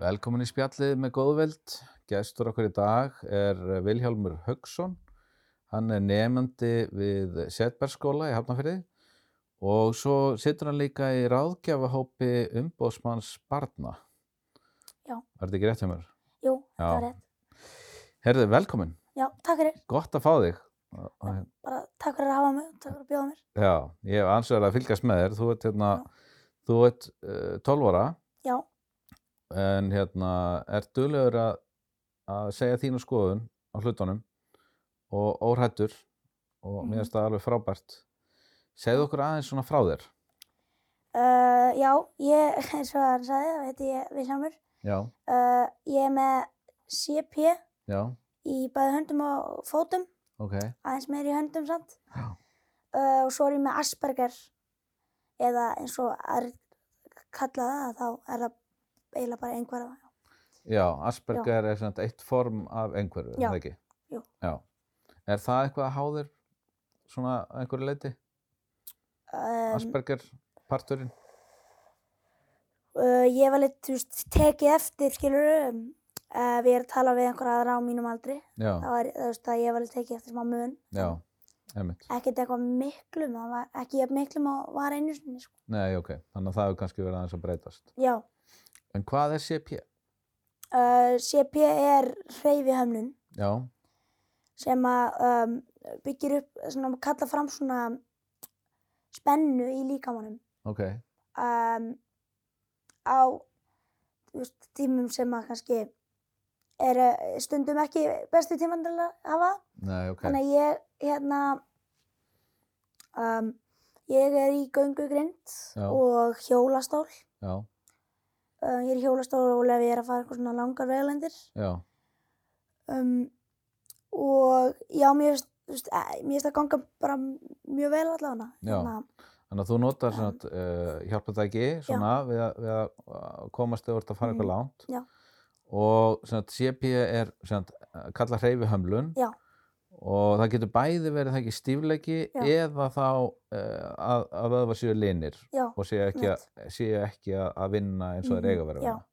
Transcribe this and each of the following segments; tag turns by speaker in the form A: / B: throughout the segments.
A: Velkomin í spjallið með góðveld. Gestur okkur í dag er eh, Vilhjálmur Högson. Hann er nefnandi við Setbergsskóla í Hafnafyrði og svo situr hann líka í ráðgjafahópi umbóðsmanns barna.
B: Já.
A: Var þetta ekki rétt hjá mér?
B: Jú,
A: Já.
B: þetta var rétt.
A: Herðu, velkomin.
B: Já, takk fyrir.
A: Gott að fá þig.
B: Bara takk fyrir að hafa mig, takk fyrir að bjóða mér.
A: Já, ég hef ansverðið að fylgjast með þér. Þú ert, hérna, þú ert uh, 12 ára
B: Já,
A: en hérna, ert duðlegur að, að segja þínu skoðun á hlutunum og óhrættur og
B: Mhm.
A: mér finnst það alveg frábært. Segðu okkur aðeins svona frá þér.
B: uh, já ég, eins og hann sagði, þá heiti ég Vilhjálmur.
A: Já,
B: Uh, ég er með CP
A: já,
B: í bæði höndum og fótum,
A: ok,
B: aðeins meir í höndum samt.
A: Já.
B: Uh, og svo er ég með Asperger, eða eins og aðrir kalla það, þá er það eiginlega bara einhverja.
A: já, Asperger er svona eitt form af einhverju, er
B: Já,
A: það ekki?
B: jú.
A: Já, er það eitthvað að há þér svona að einhverju leiti?
B: Um,
A: Asperger parturinn?
B: uh, ég var litt, þú veist, tekið eftir, skilur, um, uh, við erum að tala við einhverja aðra á mínum aldri.
A: Já,
B: þá er, þú veist, að ég var alveg tekið eftir smá mun.
A: já, einmitt.
B: Ekkert eitthvað miklum, það var ekki jafn miklum og var einu sinni, sko.
A: Nei, ok, þannig að það hefur kannski verið aðeins að breytast.
B: Já,
A: En hvað er CP?
B: uh, CP er hreyfihömlun
A: Já,
B: sem að um, byggir upp, svona, kalla fram svona spennu í líkamannum
A: ok,
B: um, á þú veist, tímum sem að kannski eru stundum ekki bestu tíman til að hafa.
A: nei, ok,
B: Þannig að ég, hérna, um, ég er í göngugrind
A: Já.
B: og hjólastól.
A: já,
B: Um, ég er í hjólastól og ef ég er að fara eitthvað svona langar veglendir.
A: já,
B: Um, og já, mér finnst- þú veist, eh, mér finnst að ganga bara mjög vel allavega. Hérna,
A: Já. Þannig að þú notar svona, uh, hjálpatæki svona, við, að, við að komast eða voru að fara eitthvað
B: Mhm.
A: langt
B: Já.
A: og svona, CP er svona, kalla hreyfihömlun
B: Já.
A: og það getur bæði verið það ekki stífleiki
B: Já.
A: eða þá uh, að, að vöðva séu linir
B: já,
A: og séu ekki, að, séu ekki að, að vinna eins og það er
B: Mhm,
A: eiga að vera að
B: já.
A: vinna.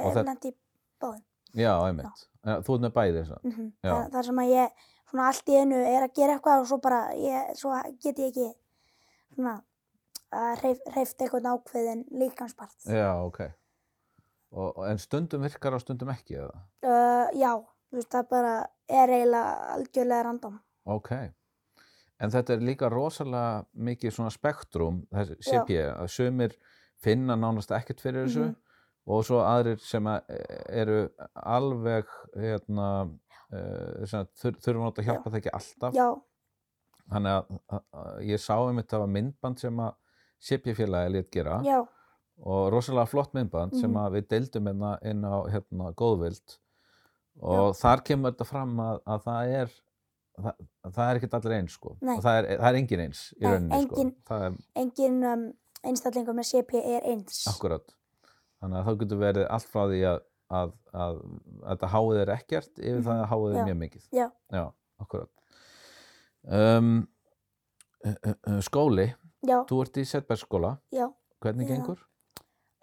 B: ég
A: og
B: er
A: það-
B: lent í báðum.
A: Já, einmitt. En Þú ert með bæði svona.
B: Mm -hmm.
A: Já.
B: Það, það sem að ég svona allt í einu er að gera eitthvað og svo bara, ég, svo get ég ekki svona, uh, reyf, reyft eitthvað nákvæðin líkamspart.
A: Já, ok. Og, og- en stundum virkar og stundum ekki eða?
B: Uh, já, þú veist, það bara er eiginlega algjörlega random.
A: Ok. En þetta er líka rosalega mikið svona spektrum, þessi
B: Já.
A: CP, að sumir finna nánast ekkert fyrir þessu
B: Mhm.
A: og svo aðrir sem að e, eru alveg, hérna, uh, sem að þur, þurfum að nota hjálpa það ekki alltaf.
B: Já,
A: Þannig að, að, að ég sá einmitt það var myndband sem að CP félagi lét gera
B: já,
A: og rosalega flott myndband sem
B: Mhm.
A: að við deildum hérna inn á hérna, góðvild og þar kemur þetta fram að, að það er það, það er ekkert allir eins sko
B: Nei.
A: og það er, það er engin eins í
B: Nei,
A: rauninni
B: engin-
A: sko það er
B: engin um, einstaklingur með CP er eins.
A: akkurat þannig að þá getur verið allt frá því að, að, að, að þetta háið er ekkert yfir það að háið er
B: Mhm. Já.
A: mjög mikið
B: Já.
A: Já, akkurat um, uh, uh, uh, Skóli,
B: Já,
A: þú ert í Setbergsskóla
B: já.
A: hvernig
B: Já.
A: gengur?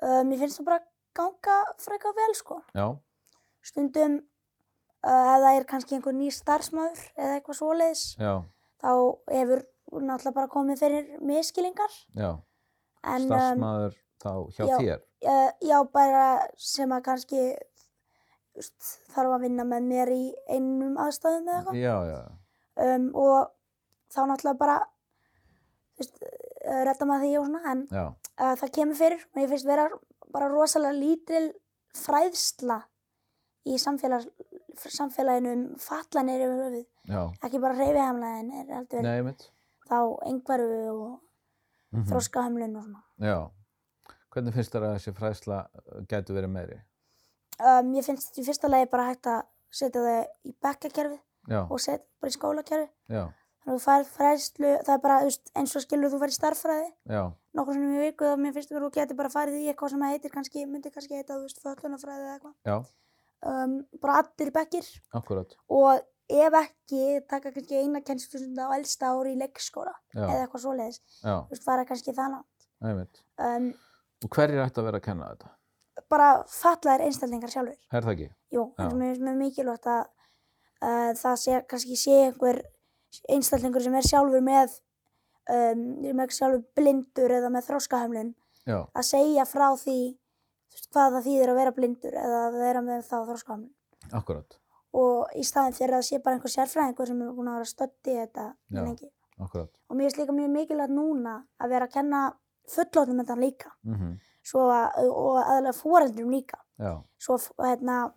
B: Uh, mér finnst það bara ganga frekar vel, sko.
A: Já,
B: Stundum, uh, ef það er kannski einhver ný starfsmöður eða eitthvað svoleiðis,
A: já,
B: þá hefur náttúrulega bara komið fyrir miskilingar.
A: já
B: En, um,
A: starfsmaður þá hjá
B: já.
A: þér
B: uh, já, bara sem að kannski þú veist, þarf að vinna með mér í einum aðstæðum eða eitthvað.
A: já, já,
B: um, og þá náttúrulega bara þú veist, uh, redda maður því og svona en
A: já,
B: uh, það kemur fyrir og ég finnst vera bara rosalega lítil fræðsla í samfélag, samfélaginu um fallanir yfir höfuð
A: já
B: ekki bara reyfihamlaðin er heldur
A: Nei, mitt
B: þá einhverfu og Mhm. þroskahamlun og svona
A: Já Hvernig finnst þér að þessi fræðsla uh, gæti verið meiri?
B: um, ég finnst í fyrsta lagi bara hægt að setja það í bekkakerfið
A: Já,
B: og setja bara í skólakerfið
A: já,
B: þannig að þú fær fræðslu, það er bara þú veist, eins og skilur þú fær í starffræði
A: já,
B: nokkur sinnum í viku þá mér finnst að þú getur bara farið í eitthvað sem heitir kannski, myndi kannski heita, þú veist, föllunafræði eða eitthvað.
A: já,
B: Um, bara allir bekkir
A: akkurat
B: og ef ekki, taka kannski eina kennslustund á elsta ári í leikskóla eða
A: Já,
B: eitthvað svoleiðis.
A: já,
B: Þú veist, fara kannski þannig.
A: einmitt
B: Um,
A: Og hverjir ætti að vera að kenna þetta?
B: bara fatlaðir einstaklingar sjálfur.
A: er það ekki?
B: Jú, eins
A: Já.
B: og mér finnst mjög mikilvægt að uh, það sé, kannski sé einhver einstaklingur sem er sjálfur með um, sem er sjálfur blindur eða með þroskahömlun
A: Já,
B: að segja frá því þú veist, hvað það þýðir að vera blindur eða að vera með þá þroskahömlun
A: akkurat,
B: og í staðin fyrir að sé bara einhver sérfræðingur sem er búin að vera stötti þetta
A: Já.
B: lengi.
A: akkurat.
B: og mér finnst líka mjög mikilvægt núna að vera að kenna fullotnum þetta líka
A: Mm
B: svo að, og aðalega fóreldrum líka
A: Já,
B: svo f- hérna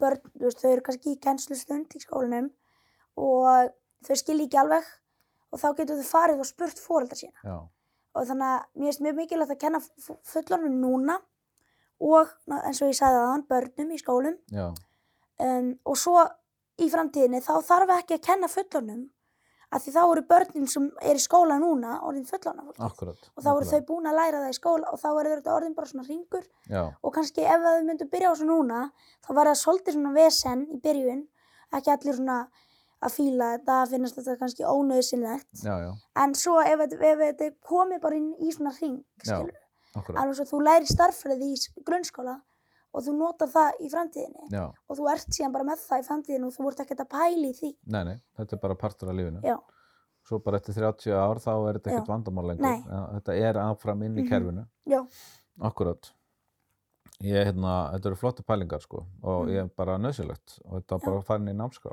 B: börn, þú veist, þau eru kannski í kennslustund í skólanum og þau skilji ekki alveg og þá getur þau farið og spurt fóreldra sína
A: já,
B: og þannig að mér finnst mjög mikilvægt að kenna fullornum núna og ná- eins og ég sagði aðan börnum í skólum
A: já,
B: um, og svo í framtíðinni þá þarf ekki að kenna fullornum af því þá eru börnin sem er í skóla núna orðin fullorna fólk
A: akkurat.
B: og þá eru þau búin að læra það í skóla og þá eru þetta orðin bara svona ringur
A: Já,
B: og kannski ef að þau myndu byrja á þessu núna þá var það svolítið svona vesen í byrjun ekki allir svona að fíla þetta finnast þetta kannski ónöðsynlegt
A: já, já,
B: en svo ef, þetta- ef þetta komið bara inn í svona ring
A: Já,
B: skilur,
A: akkurat.
B: alveg svo þú læri starffræði í s- grunnskóla og þú notar það í framtíðinni
A: Já,
B: og þú ert síðan bara með það í framtíðinu og þú vart ekkert að pæli því
A: nei, nei, þetta er bara partur af lífinu.
B: Já.
A: Svo bara eftir 30 ár þá er þetta ekkert vandamál lengur.
B: Nei.
A: Já, Þetta er áfram inn í
B: Mhm.
A: kerfinu.
B: Já.
A: Akkurat. Ég, hérna, þetta eru flotti pælingar, sko, og
B: Mhm.
A: ég er bara nöðsilegt og þetta var bara farin í námskrá.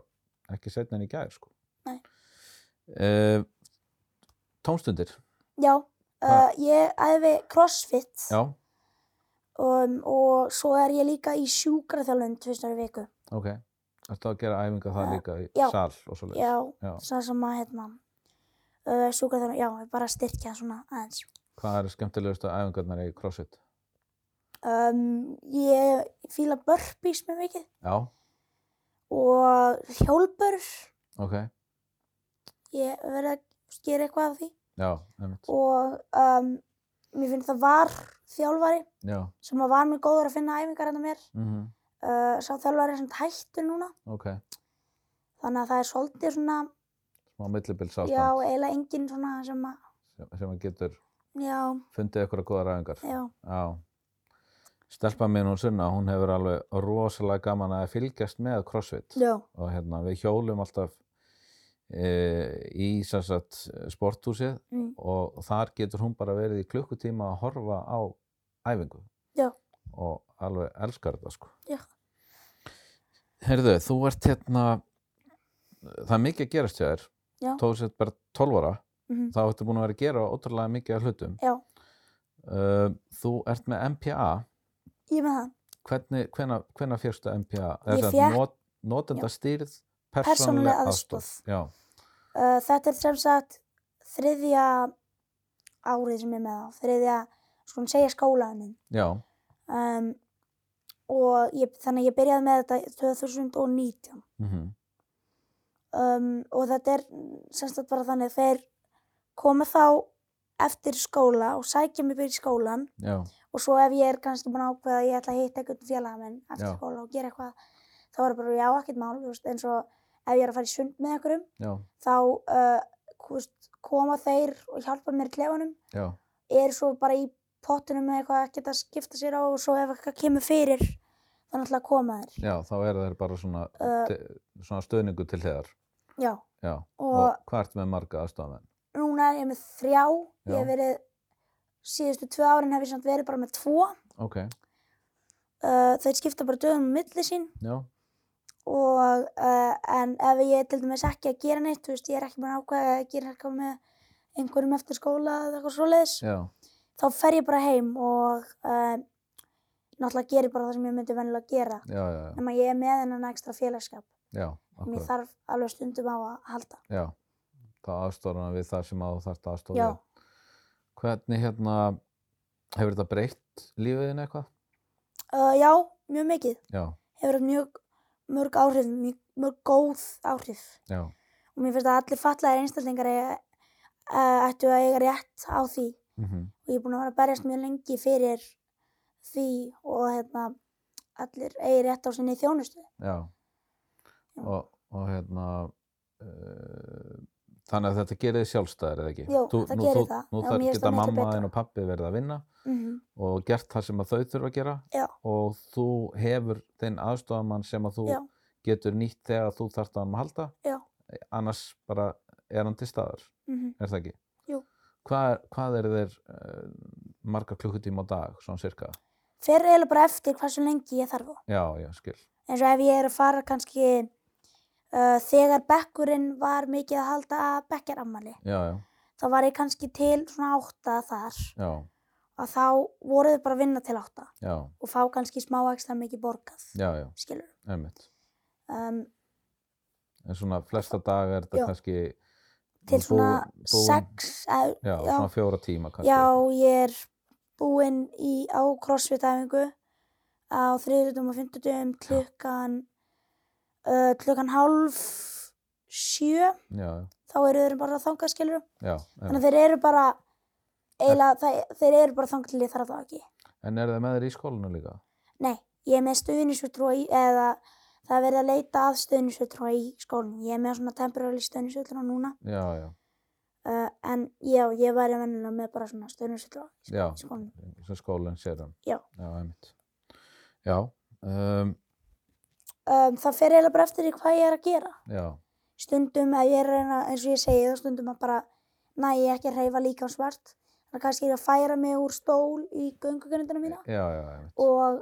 A: Ekki setna en í gæðir, sko.
B: Nei.
A: Eh, tómstundir,
B: já, uh,
A: Það-
B: ég æfi crossfit
A: já,
B: um, og svo er ég líka í sjúkraþjálun tvisnari viku
A: ok. Ertu að gera æfinga það
B: Já.
A: líka í
B: Eh, Já.
A: sal og svo
B: já,
A: Já.
B: svona sem að hérna uh, sjúkraþjálun, já, ég bara styrkja svona aðeins
A: Hvað eru skemmtilegustu æfingarnar í CrossFit?
B: um, ég fíla burpees mjög mikið
A: Já,
B: og hjólpur
A: ok,
B: ég hef verið að gera eitthvað af því
A: já, einmitt,
B: og um, mér finnst það var þjálfari
A: já,
B: sem að var mjög góður að finna æfingar hérna mér
A: mhm,
B: uh, sá þjálfari er samt hættur núna
A: ok,
B: þannig að það er svolítið svona
A: smá millibilsa
B: já, e- eiginlega enginn svona sem að
A: sem, sem að getur
B: já,
A: fundið ykkur að góða ræðingar.
B: já,
A: Já. Stelpa mín hún sunna, hún hefur alveg rosalega gaman að fylgjast með CrossFit
B: já,
A: og hérna við hjólum alltaf e, í sem sagt sporthúsið
B: mm,
A: og þar getur hún bara verið í klukkutíma að horfa á æfingu
B: Já.
A: og alveg elskar þetta sko
B: Já.
A: Herðu, þú ert hérna það er mikið að gerast hjá þér
B: Já.
A: tóðu sett bara 12 ára
B: mhm,
A: þá ertu búin að vera að gera ótrúlega mikið af hlutum
B: já,
A: uh, þú ert með MPA
B: ég er með það
A: hvernig, hvena, hvena fyrstu MPA sem
B: Ég
A: sagt
B: fékk-
A: not, notendastýrð
B: Persónuleg
A: persónuleg
B: aðstoð.
A: aðstoð Já,
B: uh, þetta er sem sagt þriðja árið sem ég er með það þriðja, sko, svona segja skólanum
A: já,
B: um, og ég, þannig að ég byrjaði með þetta 2019
A: mhm,
B: um, og þetta er sem sagt bara þannig að þeir koma þá eftir skóla og sækja mig byrja í skólan
A: já,
B: og svo ef ég er kannski búin að ákveða að ég ætla að hitta einhvern félaga minn eftir
A: Já.
B: skóla og gera eitthvað þá er bara já, ekkert mál, þú veist, eins og ef ég er að fara í sund með einhverjum
A: já,
B: þá uh, þú veist, koma þeir og hjálpa mér í klefanum
A: já,
B: er svo bara í pottunum með eitthvað að geta skipta sér á og svo ef eitthvað kemur fyrir þá náttúrulega koma þeir
A: já, þá eru þeir bara svona,
B: uh,
A: te, svona stöðningu til þegar
B: já,
A: Já,
B: og
A: og hvað ertu með marga aðstofamenn?
B: núna er ég með þrjá
A: Já.
B: ég hef verið síðustu tvö árin hef ég samt verið bara með tvo
A: Ok,
B: uh, þeir skipta bara döðum á milli sín
A: já,
B: og uh, en ef ég er til dæmis ekki að gera neitt, þú veist, ég er ekki búin að ákveða að gera eitthvað með einhverjum eftir skóla eða eitthvað svoleiðis,
A: já,
B: þá fer ég bara heim og uh, náttúrulega gerir bara það sem ég myndi venjulega gera
A: já, já, já,
B: nema ég er með hennan ekstra félagskap
A: já,
B: sem ég
A: akkurat,
B: þarf alveg stundum á að halda
A: já, þá aðstofar hann við það sem að þú þarft aðstofa
B: Já.
A: við. Hvernig hérna, hefur þetta breytt lífiðin eitthvað?
B: uh, Já, mjög mikið,
A: Já,
B: hefur haft mjög mörg áhrif, mjög, mjög góð áhrif
A: já,
B: og mér finnst að allir fallaðir einstaklingar eiga- eh, ættu að eiga rétt á því
A: mhm,
B: og ég er búin að vera að berjast mjög lengi fyrir því og hérna allir eigi rétt á sinni þjónustu
A: já,
B: Já.
A: og, og hérna, uh, þannig að þetta gerir þið sjálfstæðir eða ekki?
B: Jú,
A: Þú-
B: þetta
A: nú
B: gerir
A: þú-
B: það.
A: Nú
B: Já, mér
A: þarf
B: finnst það
A: geta
B: miklu
A: mamma
B: betra.
A: þinn og pappi verið að vinna
B: mm -hmm.
A: og gert það sem að þau þurfa að gera
B: Já.
A: og þú hefur þinn aðstofamann sem að þú
B: Já.
A: getur nýtt þegar þú þarft að hann að halda
B: Já.
A: annars bara er hann til staðar
B: Mm -hmm.
A: er það ekki?
B: Jú.
A: Hvað, hvað er þeir uh, marga klukkutíma á dag, svona cirka?
B: Fer eiginlega bara eftir hversu lengi ég þarf á.
A: Já, já, skil.
B: eins og ef ég er að fara kannski uh, þegar bekkurinn var mikið að halda bekkjarammali
A: Já, já,
B: þá var ég kannski til svona átta þar
A: já,
B: og þá voru þau bara að vinna til átta
A: já,
B: og fá kannski smá ekstra mikið borgað
A: já, já,
B: skilur
A: einmitt.
B: um,
A: En svona flesta daga er þetta
B: Já.
A: kannski...
B: til
A: bú-
B: svona
A: búin-
B: sex e, eð,
A: Já,
B: já.
A: svona fjóra tíma kannski.
B: já, ég er búinn í, á crossfit-æfingu á þriðutum og fymtutum klukkan uh, klukkan hálf sjö
A: Já,
B: þá eru þeir bara að þangað skilur
A: já,
B: Þannig
A: einmitt.
B: að þeir eru bara eiginlega, það, þeir eru bara þangt til ég þarf það ekki.
A: En er það með þeir í skólanu líka?
B: Nei, ég er með stuðnisvöldrúa í, eða það er verið að leita að stuðnisvöldrúa í skólinni. Ég er með svona temporary stuðnisvöldrúa núna,
A: Já, já,
B: uh, en já, ég væri vennilega með bara svona stuðnisvöldrúa í
A: já,
B: sk- skólinni.
A: sem skólan sér um.
B: Já.
A: Já, einmitt. Já, um,
B: Um, það fer eiginlega bara eftir í hvað ég er að gera.
A: já,
B: Stundum að ég er að reyna, eins og ég segi, þá stundum að bara næ ég ekki að reyfa líka svart. Þannig að kannski er ég að færa mig úr stól í göngugrindina mína.
A: já, já, einmitt.
B: og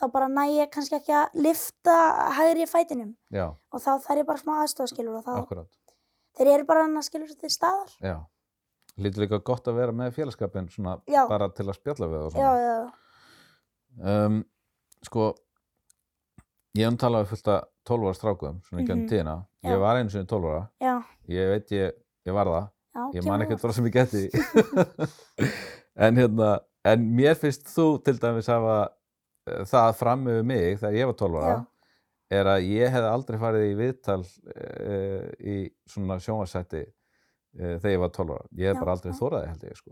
B: þá bara næ ég kannski ekki að lifta hægri fætinum
A: Já,
B: og þá þarf ég bara smá aðstofskilur og þá,
A: akkurát.
B: þeir eru bara hann að skilur sér til staðar.
A: Já. Lítur líka gott að vera með félagskapin svona
B: Já.
A: bara til að spjalla við og
B: Já,
A: svona.
B: já, já.
A: Um, sko, ég hann talaði fullt að 12 ára strákum svona í gegnum
B: Mhm.
A: tíðina.
B: Já.
A: Ég var einu sinni 12 ára.
B: já,
A: Ég veit ég, ég var það.
B: já
A: Ég
B: kemur
A: man
B: það.
A: ekkert frá sem ég geti. en hérna, en mér finnst þú til dæmis hafa eh, það fram yfir mig þegar ég var 12 ára
B: Já.
A: er að ég hef aldrei farið í viðtal uh, í svona sjónvarsætti uh, þegar ég var 12 ára. Ég hef
B: Já,
A: bara aldrei
B: já.
A: þóraði held ég sko.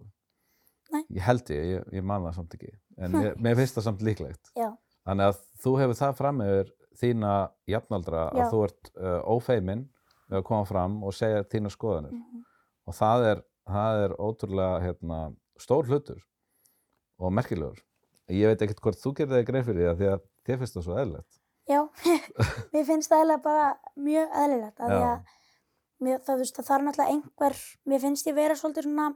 B: Nei. Hm.
A: Ég held ég, ég, ég man það samt ekki. En
B: Nei.
A: mér, mér finnst það samt líklegt.
B: Já.
A: Þannig að þú hefur það fram yfir þína jafnaldra
B: Já.
A: að þú ert uh, ófeimin við að koma fram og segja þína skoðanir.
B: Mhm.
A: Og það er, það er ótrúlega hérna, stór hlutur og merkilegur. Ég veit ekkert hvort þú gerði þig grein fyrir það því að þér finnst það svo eðlilegt.
B: Já, mér finnst það eiginlega bara mjög eðlilegt að
A: Já.
B: ég, mér, það, þú veist, það þarf náttúrulega einhver, mér finnst ég vera svolítið svona,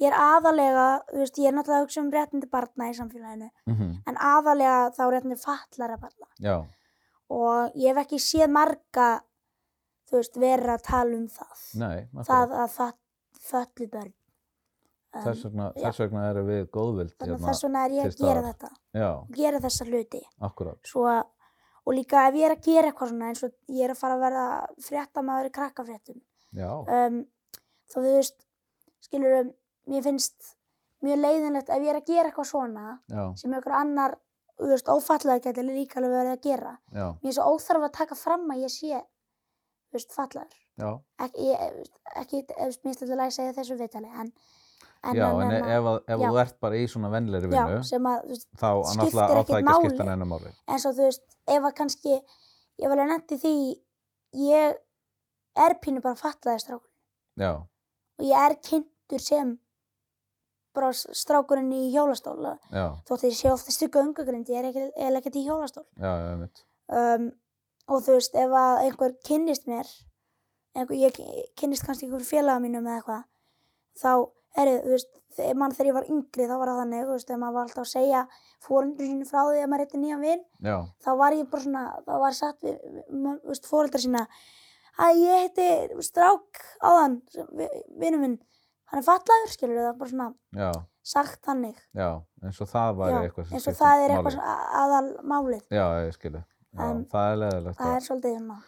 B: ég er aðalega, þú veist, ég er náttúrulega að hugsa um réttindi barna í samfélaginu,
A: Mm
B: en aðalega þá réttindi fatlara barna.
A: Já,
B: og ég hef ekki séð marga þú veist, vera að tala um það
A: nei. akkurat.
B: það að það föllu börn um,
A: þess vegna,
B: já.
A: þess vegna erum við góðvild
B: þannig að
A: hérna,
B: þess vegna er ég
A: til
B: að gera
A: staðar.
B: þetta
A: já,
B: gera þessa hluti
A: akkurat
B: svo, að- og líka ef ég er að gera eitthvað svona eins og ég er að fara að verða fréttamaður í krakkafréttum
A: já,
B: um, þá þú veist skilur um, mér finnst mjög leiðinlegt ef ég er að gera eitthvað svona
A: já,
B: sem einhver annar, þú veist, ófallega getur líka alveg verið að gera
A: já,
B: mér er svo óþarf að taka fram að ég sé þú veist, fallar
A: já,
B: ekki, ég, ekki, þú veist, mér stöldur að segja þessu viðtali en, en,
A: já en ef, að- ef
B: já.
A: þú ert bara í svona vennleiri
B: já,
A: vinnu
B: sem að, þú veist,
A: þá
B: skiptir
A: náttúrulega á það
B: ekkert
A: ekki að skipta
B: máli.
A: neina máli
B: en svo, þú veist, ef að kannski ég var alveg nefndi því ég er pínu bara fallaði strákur
A: já,
B: og ég er kynntur sem bara s- strákurinn í hjólastóla
A: já,
B: þótt ég sé oftast í göngugrind ég er ekki, ég er ekki í hjólastól
A: já, já, einmitt
B: um, og þú veist, ef að einhver kynnist mér einhver, ég kynnist kannski einhver félaga mínum eða eitthvað þá, herri, þú veist þegar mann þegar ég var yngri þá var það þannig þú veist, ef maður var alltaf að segja fóreldur sínu frá því að maður reyndi nýjan vin
A: já,
B: þá var ég bara svona, þá var satt við, við- ma- þú veist, fóreldur sína að ég heiti þú veist, strák á þann, vinnu minn hann er fallaður, skilur það, er bara svona
A: já,
B: sagt þannig,
A: já eins og það
B: já,
A: væri eitthvað sem
B: eins og
A: skiptir
B: það er
A: máli.
B: eitthvað svona a- aðal málið,
A: já, ég skilu, já,
B: En-
A: það er leðilegt
B: það er svolítið svona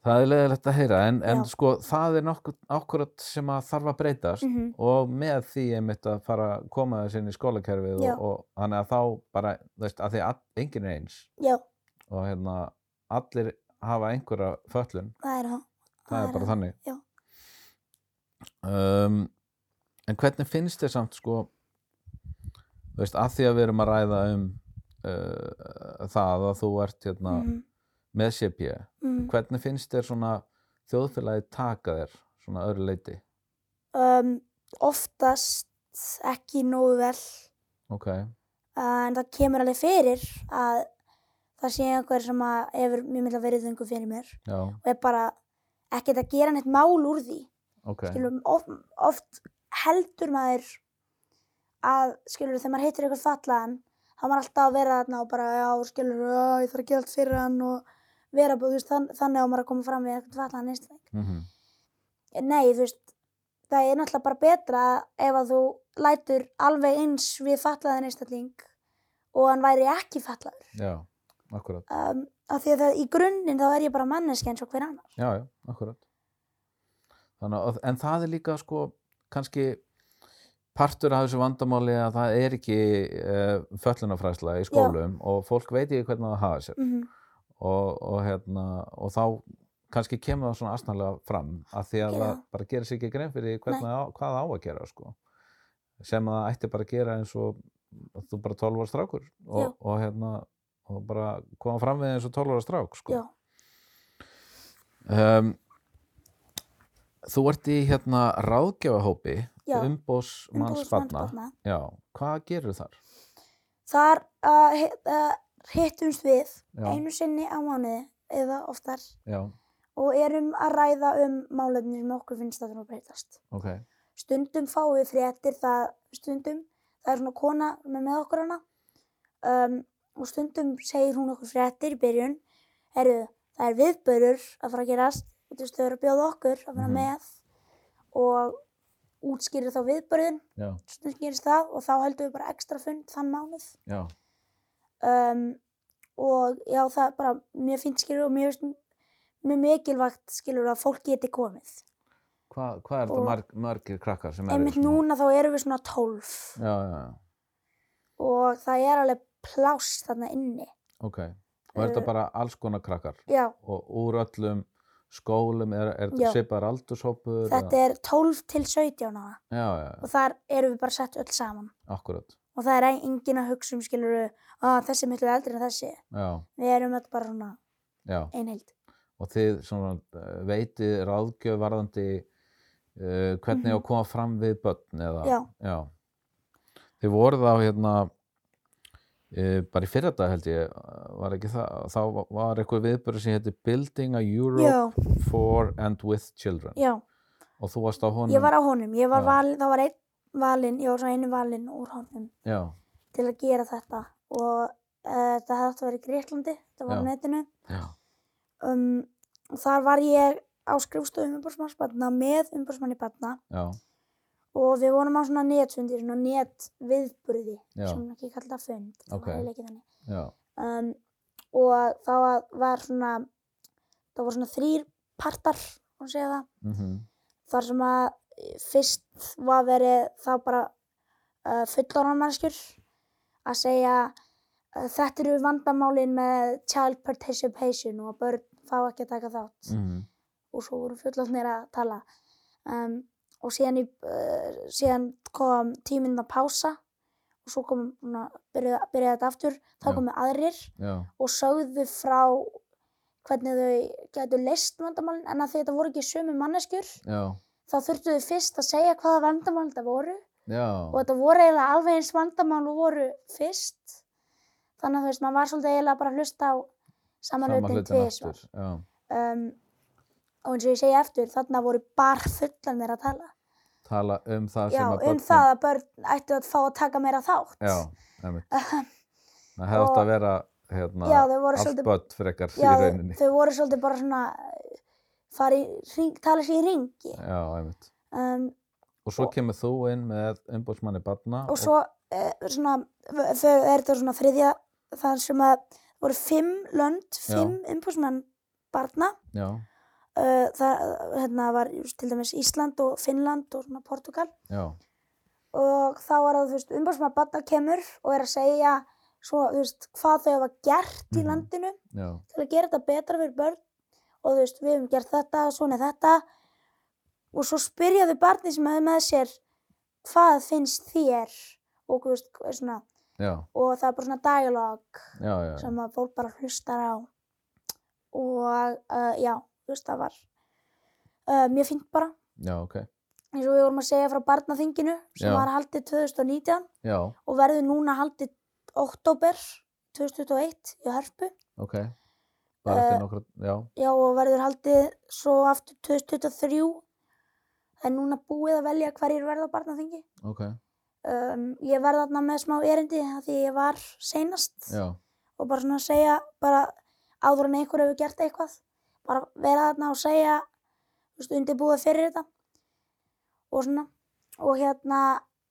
A: það er leðilegt að heyra en, en
B: Já.
A: sko, það er nokkuð akkurat sem að þarf að breytast
B: mhm
A: og með því einmitt að fara að koma þess inn í skólakerfið
B: Já.
A: og, og þannig að þá bara, þú veist, að því að enginn er eins
B: Já,
A: og hérna allir hafa einhverja föllun,
B: það er það.
A: það er bara þannig
B: já.
A: um, en hvernig finnst þér samt sko þú veist, að því að við erum að ræða um uh, það að þú ert hérna
B: Mhm,
A: með CP,
B: mhm.
A: hvernig finnst þér svona þjóðfélagi taka þér svona öðru leiti,
B: Um, oftast ekki nógu vel
A: ok,
B: uh, en það kemur alveg fyrir að það sé einhver sem að hefur mjög mikla veriðungu fyrir mér
A: já,
B: og er bara ekkert að gera neitt mál úr því
A: ok,
B: skilur, of, oft heldur maður að, skilur, þegar maður heitir eitthvað fallaðan, þá er maður alltaf að vera þarna og bara, já, skilur, já, ég þarf að gera allt fyrir hann og vera, bara, þú veist, þann, þannig á maður að koma fram við eitthvað fallaðan einstakling. Eh,
A: mhm,
B: Nei, þú veist, það er náttúrulega bara betra ef að þú lætur alveg eins við fallaðan einstakling og hann væri ekki fallaður.
A: já, akkurat,
B: Um, af því að það, í grunninn þá er ég bara manneski eins og hver annar.
A: já, já, akkurat. Þannig að, en það er líka sko, kannski partur af þessu vandamáli að það er ekki uh, föllunafræsla í skólum og fólk veit ekki hvernig það hafa sér
B: Mm
A: og, og hérna, og þá kannski kemur það svona astnarlega fram að því að
B: Gerir
A: það
B: það.
A: bara gerir sér ekki grein fyrir hvernig það á, hvað það á að gera sko sem að það ætti bara að gera eins og þú bara 12 ára strákur
B: Já.
A: og, og hérna og bara koma fram við eins og 12 ára strák sko
B: Já.
A: um, Þú ert í hérna ráðgjafahópi
B: Já.
A: umbósmanns barna Já, hvað gerur þar?
B: Þar uh, hi- uh, hittumst við
A: Já,
B: einu sinni á mánuði eða oftar
A: já,
B: og erum að ræða um málefni sem okkur finnst að það breytast.
A: ok
B: Stundum fáum við fréttir það stundum, það er svona kona með, með okkur hana um, og stundum segir hún okkur fréttir í byrjun, herru það er viðbörur að fara að gerast og þú veist þau eru að bjóða okkur að vera
A: Mhm.
B: með og útskýrir þá viðbörðin,
A: Já,
B: stundum gerist það og þá heldum við bara ekstra fund þann mánuð
A: já,
B: um, og já það er bara mjög fínt skilur og mjög, mjög mikilvægt skilur að fólk geti komið
A: hvað hva er þetta
B: Og-
A: marg, margir krakkar sem eru
B: einmitt
A: svona-
B: núna þá erum við svona 12
A: Já, já, já
B: og það er alveg pláss þarna inni
A: Ok, og er þetta
B: Eh,
A: bara alls konar krakkar
B: já,
A: og úr öllum skólum er, er
B: Já.
A: þetta svipaðar aldurshópur?
B: þetta er 12 til 17 ára
A: Já, já, já,
B: og þar erum við bara sett öll saman
A: akkurat,
B: og það er ein- enginn að hugsa um skilur að þessi er miklu eldri en þessi
A: já,
B: við erum öll bara svona
A: já.
B: einhild
A: Og þið svona eh, veitið ráðgjöf varðandi uh, hvernig á að
B: Mhm.
A: koma fram við börn eða?
B: Já.
A: Já. Þið voruð á hérna, uh, bara í fyrra dag held ég, var ekki það, þá var eitthvað viðbörð sem hétti Building a Europe
B: já,
A: for and with children.
B: já,
A: Og þú varst á honum?
B: ég var á honum ég var
A: Já.
B: valin, það var einn valin ég var svona einu valin úr honum
A: Já,
B: til að gera þetta og uh, þetta hefði átt að vera í Greiklandi, þetta var á
A: Já.
B: netinu
A: já,
B: um, og þar var ég á skrifstofum umbúrsmannsbarna með umbúrsmanni barna
A: já, og
B: og við vorum á svona netfundi, svona netviðburði
A: Já.
B: sem ekki kallta fund, það
A: Ok.
B: var eiginlega ekki þannig
A: já,
B: um, og þá var- var svona það voru svona þrýr partar má segja það,
A: mhm.
B: þar sem að eh, fyrst var verið þá bara uh, fullorðan mannskjur að segja uh, þetta eru vandamálin með child participation og að börn fá ekki að taka þátt
A: Mhm,
B: og svo voru fullorðnir að tala um, og síðan, í, uh, síðan kom tíminn að pása og svo kom svona, byrjaði, byrjaði þetta aftur þá
A: Já.
B: komu aðrir
A: já,
B: og sögðu frá hvernig þau gætu leist vandamálin en að því þetta voru ekki sömu manneskjur
A: já,
B: þá þurftu þau fyrst að segja hvaða vandamál þetta voru
A: já,
B: og þetta voru eiginlega alveg eins vandamál og voru fyrst þannig að þú veist, maður var svolítið eiginlega bara að hlusta á sama hlutin tvisvar
A: já,
B: um, og eins og ég segi eftir þarna voru bara fullanir að tala
A: tala um það
B: já,
A: sem
B: um
A: að börnum-
B: það að börn ættu að fá að taka meira þátt
A: já, nefnt það hefði átt
B: Og-
A: að vera hérna,
B: Já, þau voru
A: allt
B: svolítið-
A: börn frekar
B: Já,
A: í
B: þau-
A: rauninni
B: þau voru svolítið bara svona eh, fara í hring, tala sér í ringi
A: já, einmitt
B: um,
A: og svo
B: Og-
A: kemur þú inn með umbótsmanni barna
B: og svo uh, svona, v- þau er þetta svona þriðja þar sem að voru fimm lönd,
A: Já.
B: fimm umbúsmenn barna,
A: já,
B: uh, það hérna, var just til dæmis Ísland og Finnland og svona Portugal
A: já,
B: og þá var það, þú veist, umbúsmenn barna kemur og er að segja svo, þú veist, hvað þau hafa gert í
A: Mhm.
B: landinu
A: já,
B: til að gera þetta betra fyrir börn og þú veist, við hefum gert þetta og svona þetta og svo spyrjaðu barni sem hefði með sér hvað finnst þér og þú veist, svona
A: já,
B: og það er bara svona dialog
A: já, já, já.
B: sem að fólk bara hlustar á og uh, já, þú veist það var uh, mjög fínt bara
A: já ok
B: eins og við vorum að segja frá barnaþinginu sem
A: Já.
B: var haldið 2019
A: já,
B: og verður núna haldið oktober 2021 í Hörpu
A: ok. Bara eftir
B: Eh,
A: nokkra, já,
B: já og verður haldið svo aftur 2023 það er núna búið að velja hverjir verða á barnaþingi
A: ok,
B: um, ég verða þarna með smá erindi af því ég var seinast
A: já,
B: og bara svona segja bara áður en einhver hefur gert eitthvað bara vera þarna og segja þú veist, undirbúið fyrir þetta og svona og hérna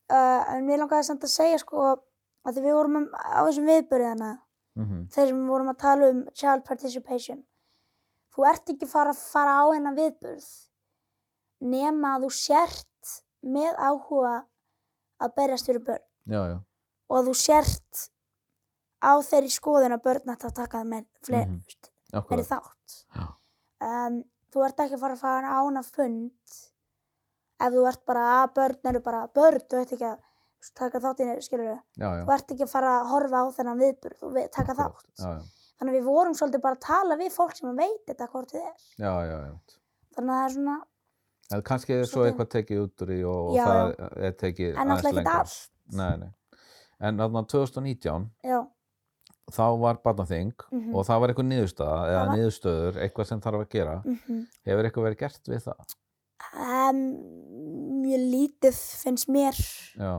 B: uh, en mér langaði samt að segja sko að því við vorum um, á þessum viðbyrðina
A: mhm,
B: þeir sem við vorum að tala um child participation þú ert ekki fara að fara á hennar viðbyrð nema að þú sért með áhuga að berjast fyrir börn
A: já, já,
B: og að þú sért á þeirri skoðun að börn ætti að taka það með fleiri
A: Mhm.
B: mm
A: akkurat,
B: þátt
A: Já.
B: um, þú ert ekki að fara að fara án að fund ef þú ert bara að börn eru bara börn þú ert ekki að taka þátt í neður skilur
A: já, já.
B: þú ert ekki að fara að horfa á þennan viðburð og við, taka
A: akkurat.
B: þátt
A: Já, já,
B: þannig að við vorum svolítið bara að tala við fólk sem veit þetta hvort þið er
A: já, já, já.
B: þannig að það er svona,
A: En kannski er svo
B: Svolítið-
A: eitthvað tekið út úr í og, og
B: Já,
A: það er tekið
B: en
A: aðeins
B: alltaf ekkert
A: lengra.
B: allt
A: Nei, nei. En þarna 2019,
B: já,
A: þá var barnaþing
B: Mhm.
A: og það var eitthvað niðurstaða eða
B: Það var-
A: niðurstöður, eitthvað sem þarf að gera.
B: mhm
A: Hefur eitthvað verið gert við það?
B: um, mjög lítið finnst mér
A: Já,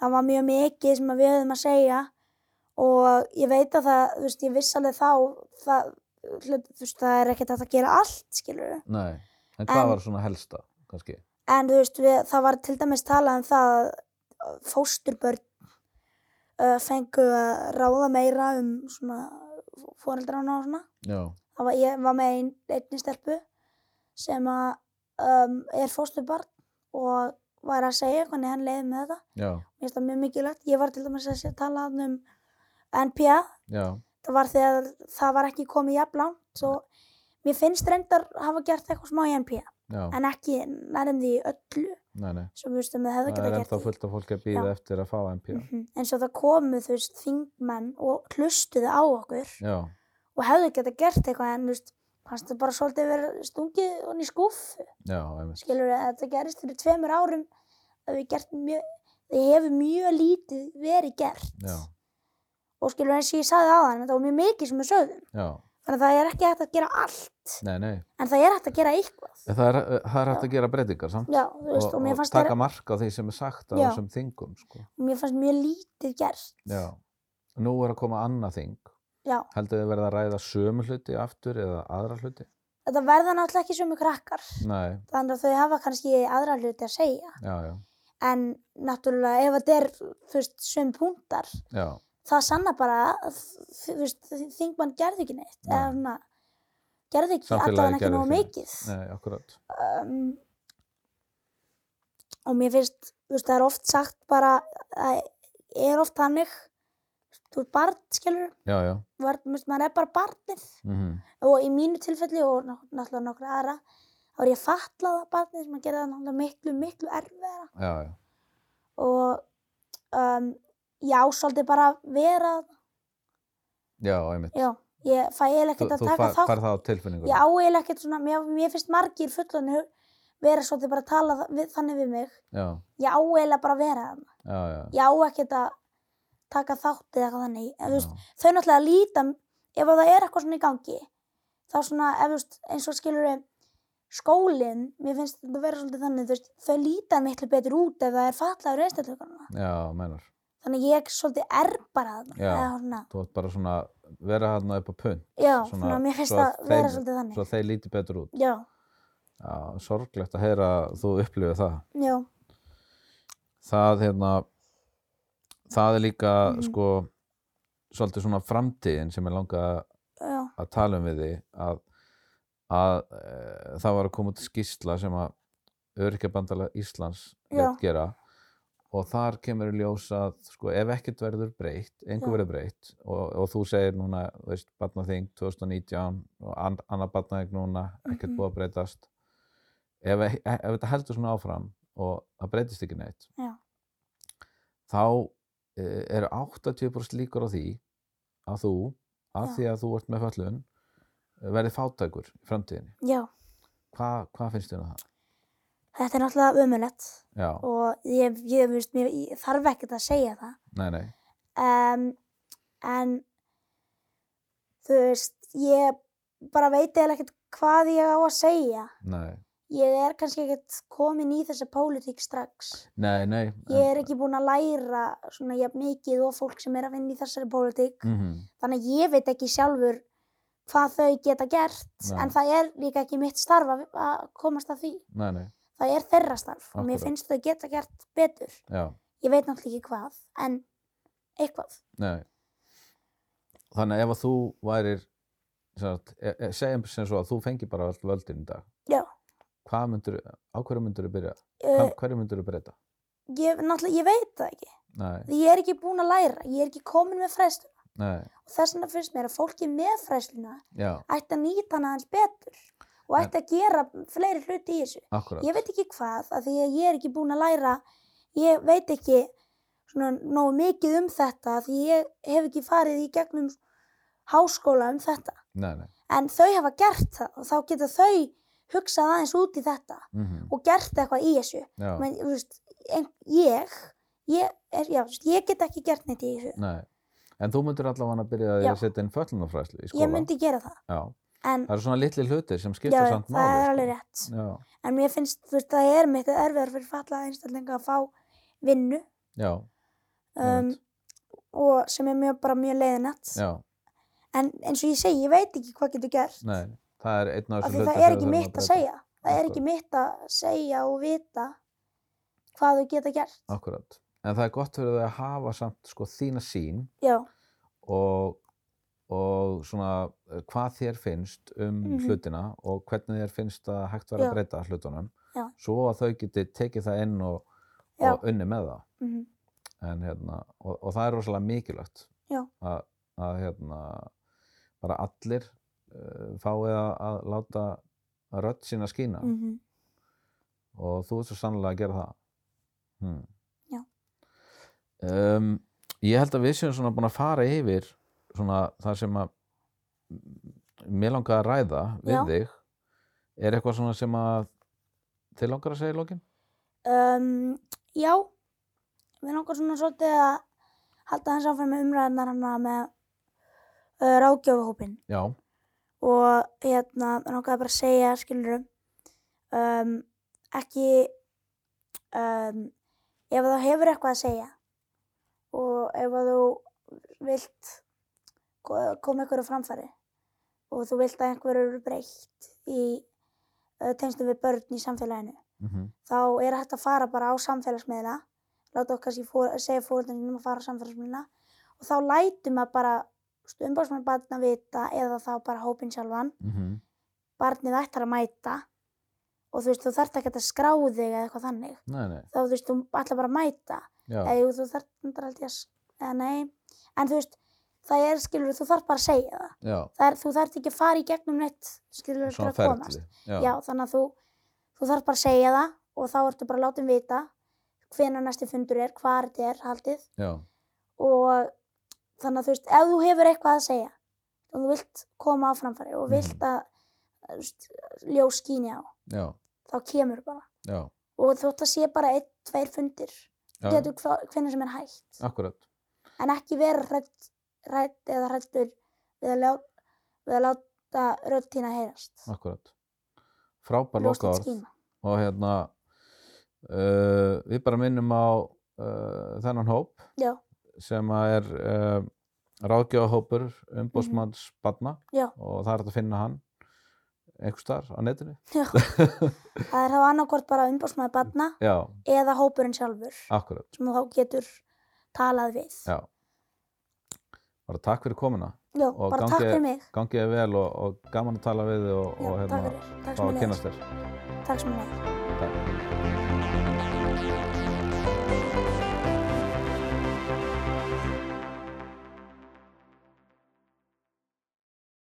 B: það var mjög mikið sem að við höfum að segja og ég veit að það, þú veist, ég viss alveg þá, það, hlut- þú veist, það er ekkert hægt að gera allt, skilur
A: nei. En hvað
B: En-
A: var svona helsta, kannski?
B: En þú veist, við, það var til dæmis talað um það að fósturbörn uh, fengu að ráða meira um svona fóreldrana og svona.
A: Já,
B: Það var, ég var með ein, einni stelpu sem að um, er fósturbarn og var að segja hvernig hann leiði með þetta.
A: já,
B: Mér finnst það mjög mikilvægt. Ég var til dæmis að sé- tala þarna um NPA.
A: já,
B: Það var þegar það var ekki komið jafn langt og mér finnst reyndar hafa gert eitthvað smá í NPA.
A: já,
B: En ekki nærðum því öllu
A: nei, nei.
B: sem við veistum við hefðu
A: Það er
B: geta
A: ennþá
B: gert.
A: fullt af fólki að býða eftir að fá MP.
B: -hmm. En svo það komu þú veist þingmenn og hlustuðu á okkur
A: Já,
B: og hefðu geta gert eitthvað en þú veist fannst það bara svolítið verið stungið honni í skúffu.
A: já, einmitt.
B: Skilur að þetta gerist fyrir tveimur árum að við gert mjög, það hefur mjög lítið verið gert.
A: Já,
B: og skilur eins og ég sagði aðan þetta var mjög mikið sem við sögðum
A: já,
B: þannig að það er ekki hægt að gera allt
A: nei, nei.
B: en það er hægt að gera eitthvað
A: En Það er, eh, það er hægt
B: Já.
A: að gera breytingar samt.
B: já, þú veist, og, mér, fannst
A: taka
B: það,
A: mark á því sem er sagt á
B: Já.
A: þessum þingum, sko.
B: mér fannst mjög lítið gert
A: Já. Nú er að koma annað þing.
B: Já.
A: Heldur þið verið að ræða sömu hluti aftur eða aðra hluti?
B: þetta verða náttúrulega ekki sömu krakkar
A: Nei,
B: þannig að þau hafa kannski aðra hluti að segja
A: já, já,
B: en náttúrulega ef þetta er þú veist, sömu punktar
A: já,
B: það sanna bara að þú veist, þingmann gerði ekki neitt
A: Nei.
B: eða svona gerði ekki,
A: Samfélagið
B: allavega ekki
A: gerði
B: nógu
A: ekki neitt.
B: mikið
A: nei, akkurat.
B: um, og mér finnst þú veist, það er oft sagt bara það er oft þannig þú er barn, skilur
A: Já, já,
B: maður er bara barnið
A: mhm,
B: og í mínu tilfelli og ná- náttúrulega nokkra aðra þá er ég fatlað að barnið sem að gera það náttúrulega miklu, miklu erfiðara
A: já, já,
B: og um, ég ásóldi bara að vera
A: já, einmitt.
B: já, ég fæ eiginlega
A: Þú,
B: ekkert að
A: þú
B: taka
A: far,
B: þátt
A: far það á tilfinningur.
B: ég á eiginlega ekkert svona, mér, mér finnst margir fullonu vera svolítið bara að tala þa- við, þannig við mig
A: Já,
B: ég á eiginlega bara að vera það
A: já, já,
B: ég á ekkert að taka þátt eða eitthvað þannig en, þú
A: já,
B: veist, þau náttúrulega líta ef það er eitthvað svona í gangi þá svona, ef, þú veist, eins og skilur skólinn, mér finnst þetta vera svolítið þannig, þú veist, þau líta miklu betur út ef það er fallaður einstakleikarna
A: já, mennar.
B: þannig ég svolítið er bara þarna
A: Já.
B: eða svona,
A: Þú átt bara svona vera þarna upp á punt,
B: já,
A: Svona-
B: svona, mér finnst
A: svo að
B: það vera
A: þeim-
B: svolítið þannig
A: svo að þeir líti betur út.
B: já,
A: Já, sorglegt að heyra að þú upplifið það.
B: já,
A: það hérna það er líka
B: Mhm.
A: sko svolítið svona framtíðin sem ég langa
B: já,
A: að tala um við því að, að e, það var að koma út skýrsla sem að öryrkjabandala Íslands
B: Já.
A: lét gera og þar kemur í ljós að sko, ef ekkert verður breytt, einhver
B: Já.
A: verður breytt og, og þú segir núna, þú veist, barnaþing 2019 og an, annar barnaþing núna, ekkert
B: Mhm.
A: búið að breytast ef, ef, ef þetta heldur svona áfram og það breytist ekki neitt
B: Já.
A: þá e, eru 80% líkur á því að þú, að
B: Já.
A: því að þú ert með föllun verði fátækur í framtíðinni
B: já
A: Hva, hvað finnst þér um það?
B: þetta er náttúrulega ömulegt
A: já,
B: og ég, ég, veist, mér, ég þarf ekkert að segja það
A: nei, nei,
B: um, en þú veist, ég bara veit eða ekkert hvað ég á að segja
A: nei,
B: ég er kannski ekkert komin í þessa pólitík strax
A: nei, nei.
B: ég er ekki búin að læra svona jafn mikið og fólk sem er að vinna í þessari pólitík
A: mm -hmm.
B: þannig að ég veit ekki sjálfur hvað þau geta gert
A: Nei.
B: en það er líka ekki mitt starf að, að komast að því
A: Nei, nei,
B: það er þeirra starf og mér
A: Akkúrat.
B: finnst þau geta gert betur
A: já,
B: ég veit náttúrulega ekki hvað en eitthvað
A: nei. Þannig að ef að þú værir, sem sagt, e- e- segjum sem svo að þú fengi bara allt völdin í dag.
B: Já.
A: Hvað myndir, á hverju myndir þú byrja?
B: uh,
A: Hvað, hverju myndir þú breyta?
B: ég, náttúrulega, ég veit það ekki
A: Nei,
B: ég er ekki búin að læra, ég er ekki komin með fræslu
A: nei,
B: og þess vegna finnst mér að fólki með fræsluna
A: já,
B: ætti að nýta hana aðeins betur og ætti að gera fleiri hluti í þessu
A: akkurat.
B: ég veit ekki hvað, af því að ég er ekki búin að læra ég veit ekki svona nógu mikið um þetta af því ég hef ekki farið í gegnum háskóla um þetta
A: Nei, nei,
B: en þau hafa gert það og þá geta þau hugsað aðeins út í þetta
A: mm
B: og gert eitthvað í þessu
A: já,
B: Men, þú veist, en, ég, ég, er, já, þú veist, ég get ekki gert neitt í þessu
A: nei. En þú myndir allavega að byrja því
B: Já.
A: að setja inn föllunarfræslu í skóla.
B: ég myndi gera það
A: Já,
B: en
A: það eru svona litli hlutir sem skipta
B: já,
A: samt máli.
B: það er
A: sko.
B: alveg rétt
A: Já,
B: en mér finnst þú veist, það er mitt erfiðar fyrir fallaða einstaklinga að fá vinnu
A: já,
B: um,
A: Einmitt.
B: og sem er mjög, bara mjög leiðinett
A: já,
B: en eins og ég segi, ég veit ekki hvað getur gert
A: nei. Það er einn af
B: af
A: þessum
B: því
A: hlutum
B: það
A: sem við
B: er ekki
A: þurfum
B: mitt að
A: breyta.
B: segja það er ekki mitt að segja og vita hvað þau geta gert
A: Akkurat. En það er gott fyrir þau að hafa samt sko þína sín
B: já,
A: og, og svona eh, hvað þér finnst um
B: Mhm.
A: hlutina og hvernig þér finnst að hægt vera
B: Já.
A: að breyta hlutunum
B: Já.
A: svo að þau geti tekið það inn og,
B: Já.
A: og unni með það.
B: mm
A: En, hérna, og, og það er rosalega mikilvægt
B: Já.
A: að, að hérna, bara allir uh, fáið að, að láta rödd sína skína
B: Mhm.
A: og þú ert svo sannlega að gera það hmm.
B: Já.
A: um, ég held að við séum svona búin að fara yfir svona það sem að mér langar að ræða við
B: Já.
A: þig er eitthvað svona sem að þið langar að segja í lokin?
B: um, já við langar svona svolítið að halda hans áfram með umræðunar hana með uh, ráðgjöfuhópin
A: Já,
B: og hérna við langar bara að segja skilur um, ekki um, ef þú hefur eitthvað að segja og ef að þú vilt ko- koma einhverju á framfæri og þú vilt að einhverju eru breytt í uh, tengstu við börn í samfélaginu
A: mm
B: þá er hægt að fara bara á samfélagsmiðla láta okkar sér fór, segja fórhaldunum að fara á samfélagsmiðla og þá lætum að bara umbásmann barna vita eða þá bara hópin sjálfan
A: mhm.
B: barnið ættar að mæta og þú veist, þú þarft ekki að skrá þig eða eitthvað þannig
A: nei, nei,
B: þá þú veist, þú ætlar bara að mæta
A: já,
B: eða jú, þú þarft undir aldrei að s- eða nei, en þú veist það er, skilur, þú þarft bara að segja það,
A: já,
B: það er, þú þarft ekki að fara í gegnum neitt, skilur, til
A: svona
B: að komast
A: ferli
B: Já, þannig að þú, þú þarf bara að segja það og þá ertu bara að láta um vita hvenær næsti fundur er, hvar þetta er haldið
A: já,
B: og þannig að þú veist, ef þú hefur eitthvað að segja og þú vilt koma á framfæri og
A: Mhm.
B: vilt að þú veist, ljós skíni á,
A: já,
B: þá kemur bara
A: já,
B: og þótt að sé bara einn, tveir fundir
A: já, já,
B: getur hva- hvenær sem er hægt
A: akkurat
B: en ekki vera rætt, rætt eða rættur við að, lá, við að láta röddina heyrast
A: akkurat frábær
B: Ljós þitt
A: lokaorð
B: skína.
A: og hérna uh, við bara minnum á uh, þennan hóp
B: Já.
A: sem að er uh, ráðgjáðahópur umbóðsmanns barna
B: Mhm. Já.
A: og það er hægt að finna hann einhvers staðar á netinu
B: Já. það er þá annarkvort bara umbásmaður barna
A: já,
B: eða hópurinn sjálfur
A: akkurat
B: sem þú þá getur talað við.
A: já. bara takk fyrir komuna
B: Já,
A: og
B: bara takk
A: gangi-
B: fyrir mig.
A: gangið þér vel og, og gaman að tala við þig og,
B: Já,
A: og hérna
B: takk fyrir.
A: fá
B: Takk sem
A: að
B: ég leiðis.
A: kynast þér
B: Takk sem ég leiðis.
A: takk